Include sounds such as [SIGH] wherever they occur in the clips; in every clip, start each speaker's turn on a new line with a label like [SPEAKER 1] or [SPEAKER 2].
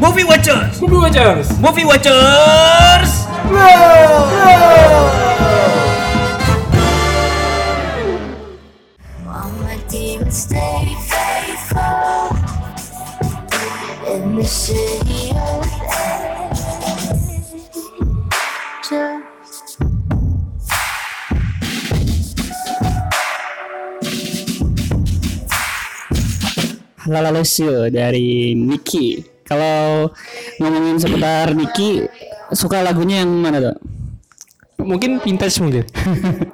[SPEAKER 1] Movie Watchers
[SPEAKER 2] Movie Watchers.
[SPEAKER 1] Movie Watchers
[SPEAKER 3] Mama dear, stay faithful in the city of angels.
[SPEAKER 4] Lala Lucio dari Niki. Kalau ngomongin seputar Niki, suka lagunya yang mana tuh?
[SPEAKER 2] Mungkin vintage
[SPEAKER 4] [LAUGHS]
[SPEAKER 2] mungkin.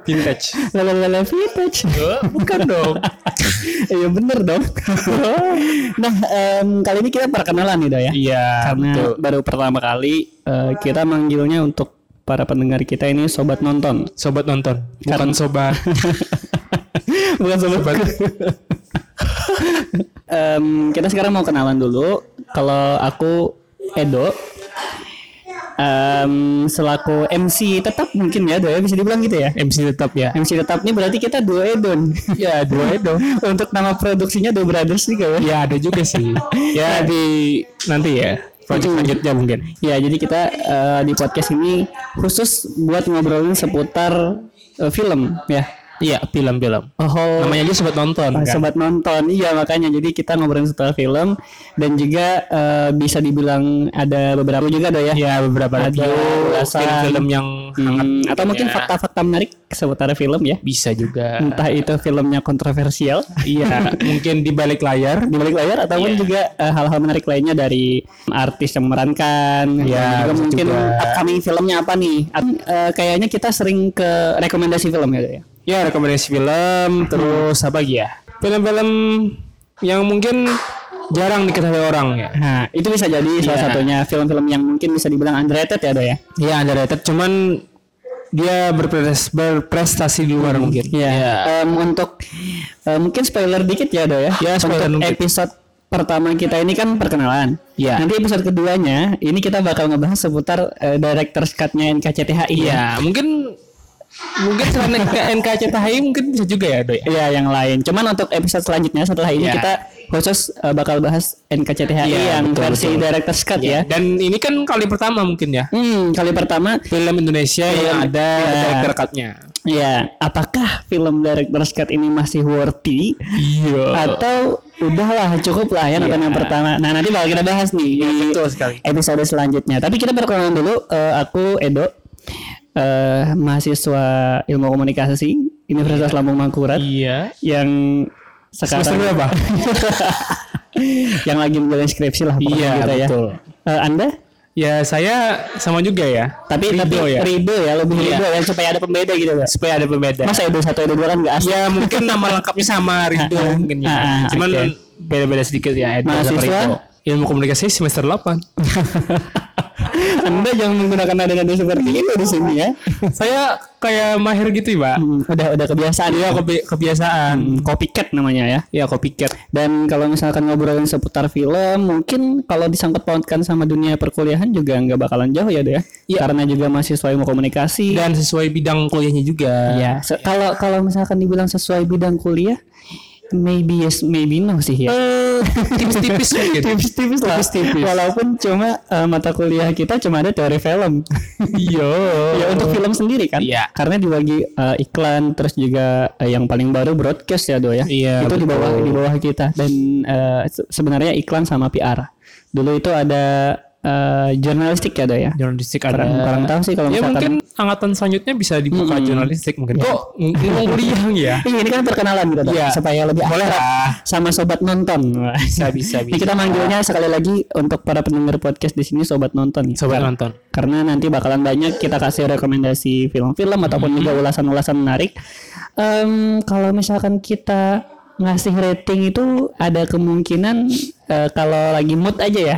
[SPEAKER 2] vintage.
[SPEAKER 4] Lala Lala Vintage.
[SPEAKER 2] Bukan dong.
[SPEAKER 4] [LAUGHS] Iya bener
[SPEAKER 2] [LAUGHS]
[SPEAKER 4] dong. nah em, kali ini kita perkenalan nih Doy ya.
[SPEAKER 2] Iya.
[SPEAKER 4] Karena
[SPEAKER 2] betul.
[SPEAKER 4] baru pertama kali eh, kita manggilnya untuk para pendengar kita ini sobat nonton.
[SPEAKER 2] Sobat nonton. Bukan sobat.
[SPEAKER 4] [LAUGHS] Bukan sobat.
[SPEAKER 2] [LAUGHS]
[SPEAKER 4] Em, kita sekarang mau kenalan dulu. Kalau aku Edo em, selaku MC tetap mungkin ya, Doy, bisa dibilang gitu ya.
[SPEAKER 2] MC tetap ya.
[SPEAKER 4] MC tetap nih berarti kita duo Edon.
[SPEAKER 2] Ya
[SPEAKER 4] [LAUGHS]
[SPEAKER 2] dua Edo.
[SPEAKER 4] Untuk nama produksinya Duo Brothers nih kayaknya.
[SPEAKER 2] Ya ada juga
[SPEAKER 4] [LAUGHS]
[SPEAKER 2] sih. Ya di nanti ya. Project selanjutnya mungkin.
[SPEAKER 4] Ya, jadi kita eh, di podcast ini khusus buat ngobrolin seputar eh, film ya.
[SPEAKER 2] Iya film-film.
[SPEAKER 4] Oh,
[SPEAKER 2] Namanya aja sobat nonton. kan?
[SPEAKER 4] sobat nonton. Iya, makanya jadi kita ngobrolin seputar film dan juga eh, bisa dibilang ada beberapa juga do ya.
[SPEAKER 2] Ya beberapa
[SPEAKER 4] Ada
[SPEAKER 2] review
[SPEAKER 4] ulasan.
[SPEAKER 2] film-film yang hangat.
[SPEAKER 4] Hmm, atau mungkin
[SPEAKER 2] Ya,
[SPEAKER 4] fakta-fakta menarik seputar film ya.
[SPEAKER 2] bisa juga.
[SPEAKER 4] Entah itu filmnya kontroversial
[SPEAKER 2] [LAUGHS] Iya, mungkin di balik layar.
[SPEAKER 4] di balik [LAUGHS] layar ataupun
[SPEAKER 2] Iya.
[SPEAKER 4] juga eh, hal-hal menarik lainnya dari artis yang memerankan
[SPEAKER 2] Iya,
[SPEAKER 4] ya juga
[SPEAKER 2] bisa
[SPEAKER 4] mungkin
[SPEAKER 2] juga.
[SPEAKER 4] upcoming filmnya apa nih At- eh, kayaknya kita sering ke rekomendasi film ya Dok ya?
[SPEAKER 2] Ya rekomendasi
[SPEAKER 4] Hmm.
[SPEAKER 2] film, terus apa lagi ya? Film-film yang mungkin jarang diketahui orang ya.
[SPEAKER 4] Nah, itu bisa jadi salah
[SPEAKER 2] Iya.
[SPEAKER 4] satunya film-film yang mungkin bisa dibilang underrated ya do ya
[SPEAKER 2] Iya underrated, cuman dia berprestasi, berprestasi di luar mungkin.
[SPEAKER 4] Iya. Em, untuk eh, mungkin spoiler dikit ya do ya
[SPEAKER 2] Ya, spoiler
[SPEAKER 4] untuk
[SPEAKER 2] dikit.
[SPEAKER 4] episode pertama kita ini kan perkenalan
[SPEAKER 2] Iya.
[SPEAKER 4] nanti episode keduanya ini kita bakal ngebahas seputar eh, director's cut-nya NKCTHI ya.
[SPEAKER 2] Iya, mungkin mungkin selain NKCTHI mungkin bisa juga ya, Doy.
[SPEAKER 4] Iya yang lain. Cuman untuk episode selanjutnya setelah ini
[SPEAKER 2] Iya.
[SPEAKER 4] kita khusus uh, bakal bahas NKCTHI
[SPEAKER 2] Iya,
[SPEAKER 4] yang
[SPEAKER 2] betul,
[SPEAKER 4] versi
[SPEAKER 2] betul.
[SPEAKER 4] director's cut ya.
[SPEAKER 2] Dan ini kan kali pertama mungkin ya.
[SPEAKER 4] Hmm, kali pertama
[SPEAKER 2] Film Indonesia yang
[SPEAKER 4] Film,
[SPEAKER 2] ada
[SPEAKER 4] iya.
[SPEAKER 2] director cut-nya.
[SPEAKER 4] ya apakah film director's cut ini masih worthy
[SPEAKER 2] Iya.
[SPEAKER 4] atau udahlah cukup lah ya nonton yang pertama. Nah, nanti bakal kita bahas nih di
[SPEAKER 2] Iya, betul sekali.
[SPEAKER 4] episode selanjutnya. Tapi kita perkenalan dulu eh, aku Edo eh, mahasiswa Ilmu Komunikasi Universitas Lambung Mangkurat
[SPEAKER 2] Iya.
[SPEAKER 4] yang sekarang
[SPEAKER 2] Semester berapa?
[SPEAKER 4] [LAUGHS] yang lagi menjalani skripsi lah pokoknya
[SPEAKER 2] Iya, betul.
[SPEAKER 4] Eh, anda
[SPEAKER 2] Ya saya sama juga ya.
[SPEAKER 4] tapi
[SPEAKER 2] Ridho
[SPEAKER 4] tapi
[SPEAKER 2] ya.
[SPEAKER 4] Ridho ya lebih Ridho ya supaya ada pembeda gitu loh
[SPEAKER 2] supaya ada pembeda.
[SPEAKER 4] masa Edo satu Edo dua kan nggak asli
[SPEAKER 2] Ya mungkin nama lengkapnya sama Rido
[SPEAKER 4] Ah, ah,
[SPEAKER 2] mungkin ya.
[SPEAKER 4] ah, ah,
[SPEAKER 2] Cuman
[SPEAKER 4] oke.
[SPEAKER 2] beda-beda sedikit ya Edo sama
[SPEAKER 4] Mahasiswa?
[SPEAKER 2] Rido. Ilmu komunikasi semester
[SPEAKER 4] [LAUGHS]
[SPEAKER 2] 8.
[SPEAKER 4] anda jangan menggunakan nada-nada seperti itu di sini ya
[SPEAKER 2] Saya kayak mahir gitu, Pak.
[SPEAKER 4] Hmm, udah udah kebiasaan ya
[SPEAKER 2] Dia Iya, kebi- kebiasaan.
[SPEAKER 4] copycat namanya ya
[SPEAKER 2] Ya copycat.
[SPEAKER 4] dan kalau misalkan ngobrolin seputar film mungkin kalau disangkut pautkan sama dunia perkuliahan juga nggak bakalan jauh ya deh ya. karena juga mahasiswa ilmu komunikasi
[SPEAKER 2] Iya. Dan iya. sesuai bidang kuliahnya juga.
[SPEAKER 4] Ya, se- kalau kalau misalkan dibilang sesuai bidang kuliah, maybe yes, maybe no sih ya.
[SPEAKER 2] Eh, tipis-tipis
[SPEAKER 4] [LAUGHS]
[SPEAKER 2] mungkin.
[SPEAKER 4] Tipis-tipis lah. Walaupun cuma eh, mata kuliah kita cuma ada teori film.
[SPEAKER 2] Iya.
[SPEAKER 4] [LAUGHS] ya untuk film sendiri kan.
[SPEAKER 2] Iya.
[SPEAKER 4] Karena dibagi eh, iklan terus juga eh, yang paling baru broadcast ya do ya.
[SPEAKER 2] Iya,
[SPEAKER 4] Itu di bawah di bawah kita dan eh, se- sebenarnya iklan sama PR. Dulu itu ada eh, jurnalistik ya do ya.
[SPEAKER 2] Jurnalistik ada.
[SPEAKER 4] Kurang, kurang tahu sih kalau
[SPEAKER 2] Ya
[SPEAKER 4] misalkan
[SPEAKER 2] mungkin angkatan selanjutnya bisa dibuka jurnalistik mungkin. Kok ng- ngomong kuliah ya?
[SPEAKER 4] Ih, ini kan perkenalan gitu Dok,
[SPEAKER 2] Iya.
[SPEAKER 4] supaya lebih
[SPEAKER 2] Boleh
[SPEAKER 4] akrab
[SPEAKER 2] lah.
[SPEAKER 4] sama sobat nonton.
[SPEAKER 2] Bisa, bisa,
[SPEAKER 4] Ini kita manggilnya sekali lagi untuk para pendengar podcast di sini sobat nonton. ya.
[SPEAKER 2] Sobat
[SPEAKER 4] Karena-
[SPEAKER 2] nonton.
[SPEAKER 4] Karena nanti bakalan banyak kita kasih rekomendasi film-film ataupun juga
[SPEAKER 2] Mm-hmm.
[SPEAKER 4] ulasan-ulasan menarik. Em, kalau misalkan kita ngasih rating itu ada kemungkinan eh, kalau lagi mood
[SPEAKER 2] [LAUGHS]
[SPEAKER 4] aja ya.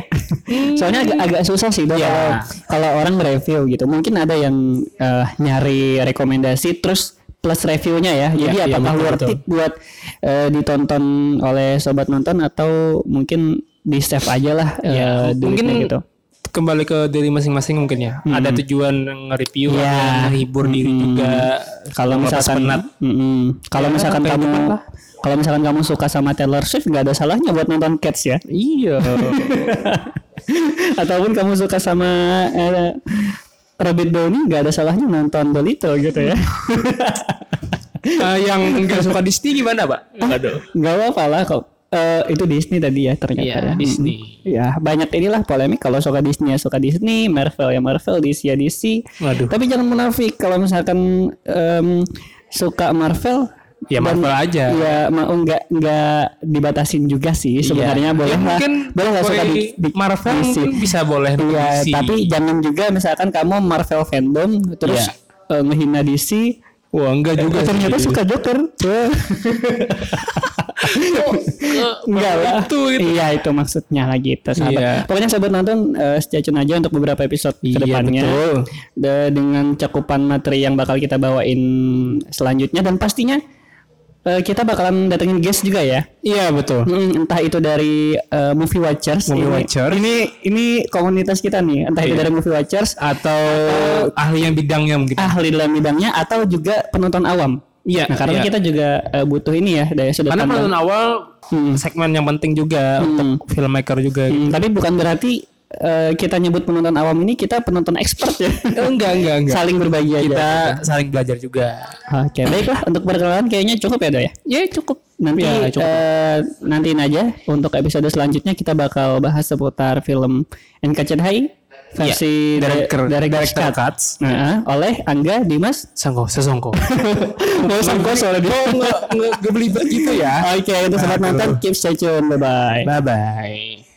[SPEAKER 4] Soalnya agak agak susah sih Dok,
[SPEAKER 2] Iya.
[SPEAKER 4] kalau kalau orang review gitu. Mungkin ada yang eh, nyari rekomendasi terus plus reviewnya ya. Jadi
[SPEAKER 2] Iya, iya,
[SPEAKER 4] apakah
[SPEAKER 2] betul,
[SPEAKER 4] worth
[SPEAKER 2] betul.
[SPEAKER 4] it buat eh, ditonton oleh sobat nonton atau mungkin di save aja lah eh,
[SPEAKER 2] Iya. mungkin
[SPEAKER 4] duitnya gitu.
[SPEAKER 2] kembali ke diri masing-masing mungkin ya. Ada tujuan nge-review,
[SPEAKER 4] Hmm. Iya. Hmm.
[SPEAKER 2] ada yang menghibur diri juga.
[SPEAKER 4] Kalau
[SPEAKER 2] Melepas
[SPEAKER 4] misalkan [LAUGHS]
[SPEAKER 2] penat.
[SPEAKER 4] Mm-mm. kalau misalkan kamu kalau misalkan kamu suka sama Taylor Swift nggak ada salahnya buat nonton Cats ya.
[SPEAKER 2] Iya.
[SPEAKER 4] [LAUGHS] ataupun kamu suka sama eh, Robert Downey nggak ada salahnya nonton Dolittle gitu
[SPEAKER 2] [LAUGHS]
[SPEAKER 4] ya
[SPEAKER 2] Eh, yang nggak suka Disney gimana pak?
[SPEAKER 1] Aduh.
[SPEAKER 4] nggak apa-apa lah kok Eh, itu Disney tadi ya ternyata
[SPEAKER 2] Iya,
[SPEAKER 4] ya.
[SPEAKER 2] Disney.
[SPEAKER 4] Mm. ya banyak inilah polemik kalau suka Disney ya suka Disney Marvel ya Marvel DC ya DC
[SPEAKER 2] Waduh.
[SPEAKER 4] tapi jangan munafik kalau misalkan em, suka Marvel
[SPEAKER 2] Ya,
[SPEAKER 4] dan-
[SPEAKER 2] Marvel aja.
[SPEAKER 4] ya mau nggak nggak dibatasin juga sih sebenarnya boleh
[SPEAKER 2] Ya,
[SPEAKER 4] lah
[SPEAKER 2] mungkin
[SPEAKER 4] boleh nggak suka
[SPEAKER 2] boleh
[SPEAKER 4] di, di-
[SPEAKER 2] Marvel
[SPEAKER 4] DC.
[SPEAKER 2] mungkin bisa boleh
[SPEAKER 4] Iya,
[SPEAKER 2] DC.
[SPEAKER 4] tapi jangan juga misalkan kamu Marvel fandom
[SPEAKER 2] Iya.
[SPEAKER 4] terus eh, ngehina DC.
[SPEAKER 2] wah enggak juga.
[SPEAKER 4] Eh, ternyata
[SPEAKER 2] sih.
[SPEAKER 4] suka Joker.
[SPEAKER 2] Oh,
[SPEAKER 4] [LAUGHS] Wah. Enggak lah.
[SPEAKER 2] eh, Itu, itu.
[SPEAKER 4] Iya, itu maksudnya lagi itu sahabat.
[SPEAKER 2] Iya.
[SPEAKER 4] Pokoknya sahabat nonton eh, stay tune aja untuk beberapa episode
[SPEAKER 2] Iya,
[SPEAKER 4] kedepannya.
[SPEAKER 2] betul.
[SPEAKER 4] De- dengan cakupan materi yang bakal kita bawain selanjutnya dan pastinya eh, kita bakalan datengin guest juga ya.
[SPEAKER 2] Iya betul.
[SPEAKER 4] Mm, entah itu dari eh, movie watchers
[SPEAKER 2] Movie
[SPEAKER 4] ini,
[SPEAKER 2] watchers.
[SPEAKER 4] ini ini komunitas kita nih entah itu
[SPEAKER 2] Iya.
[SPEAKER 4] dari movie watchers
[SPEAKER 2] Atau ahli yang bidangnya mungkin.
[SPEAKER 4] ahli dalam bidangnya atau juga penonton awam
[SPEAKER 2] Iya,
[SPEAKER 4] nah karena
[SPEAKER 2] iya.
[SPEAKER 4] kita juga eh, butuh ini ya dari sudut
[SPEAKER 2] Karena
[SPEAKER 4] pandang
[SPEAKER 2] penonton awal segmen yang penting juga untuk filmmaker juga.
[SPEAKER 4] Hmm, tapi bukan berarti eh, kita nyebut penonton awam ini kita penonton expert ya
[SPEAKER 2] [LAUGHS] Eh, Enggak enggak enggak.
[SPEAKER 4] saling berbagi aja
[SPEAKER 2] Kita saling belajar juga.
[SPEAKER 4] Oke, baiklah untuk perkenalan kayaknya cukup ya, Do ya.
[SPEAKER 2] Ya cukup.
[SPEAKER 4] Nanti
[SPEAKER 2] Ya, cukup.
[SPEAKER 4] eh, nantiin aja untuk episode selanjutnya kita bakal bahas seputar film NKCTHI versi
[SPEAKER 2] Ya, director-
[SPEAKER 4] dari dari
[SPEAKER 2] director
[SPEAKER 4] Cut.
[SPEAKER 2] cuts.
[SPEAKER 4] Nah, oleh Angga Dimas.
[SPEAKER 2] Sangko, sesongko.
[SPEAKER 4] [LAUGHS] Mau sangkos oleh dia.
[SPEAKER 2] Nggak belibet gitu ya.
[SPEAKER 4] Oke, untuk sobat
[SPEAKER 2] Aduh.
[SPEAKER 4] nonton keep stay tune. Bye bye.
[SPEAKER 2] Bye bye.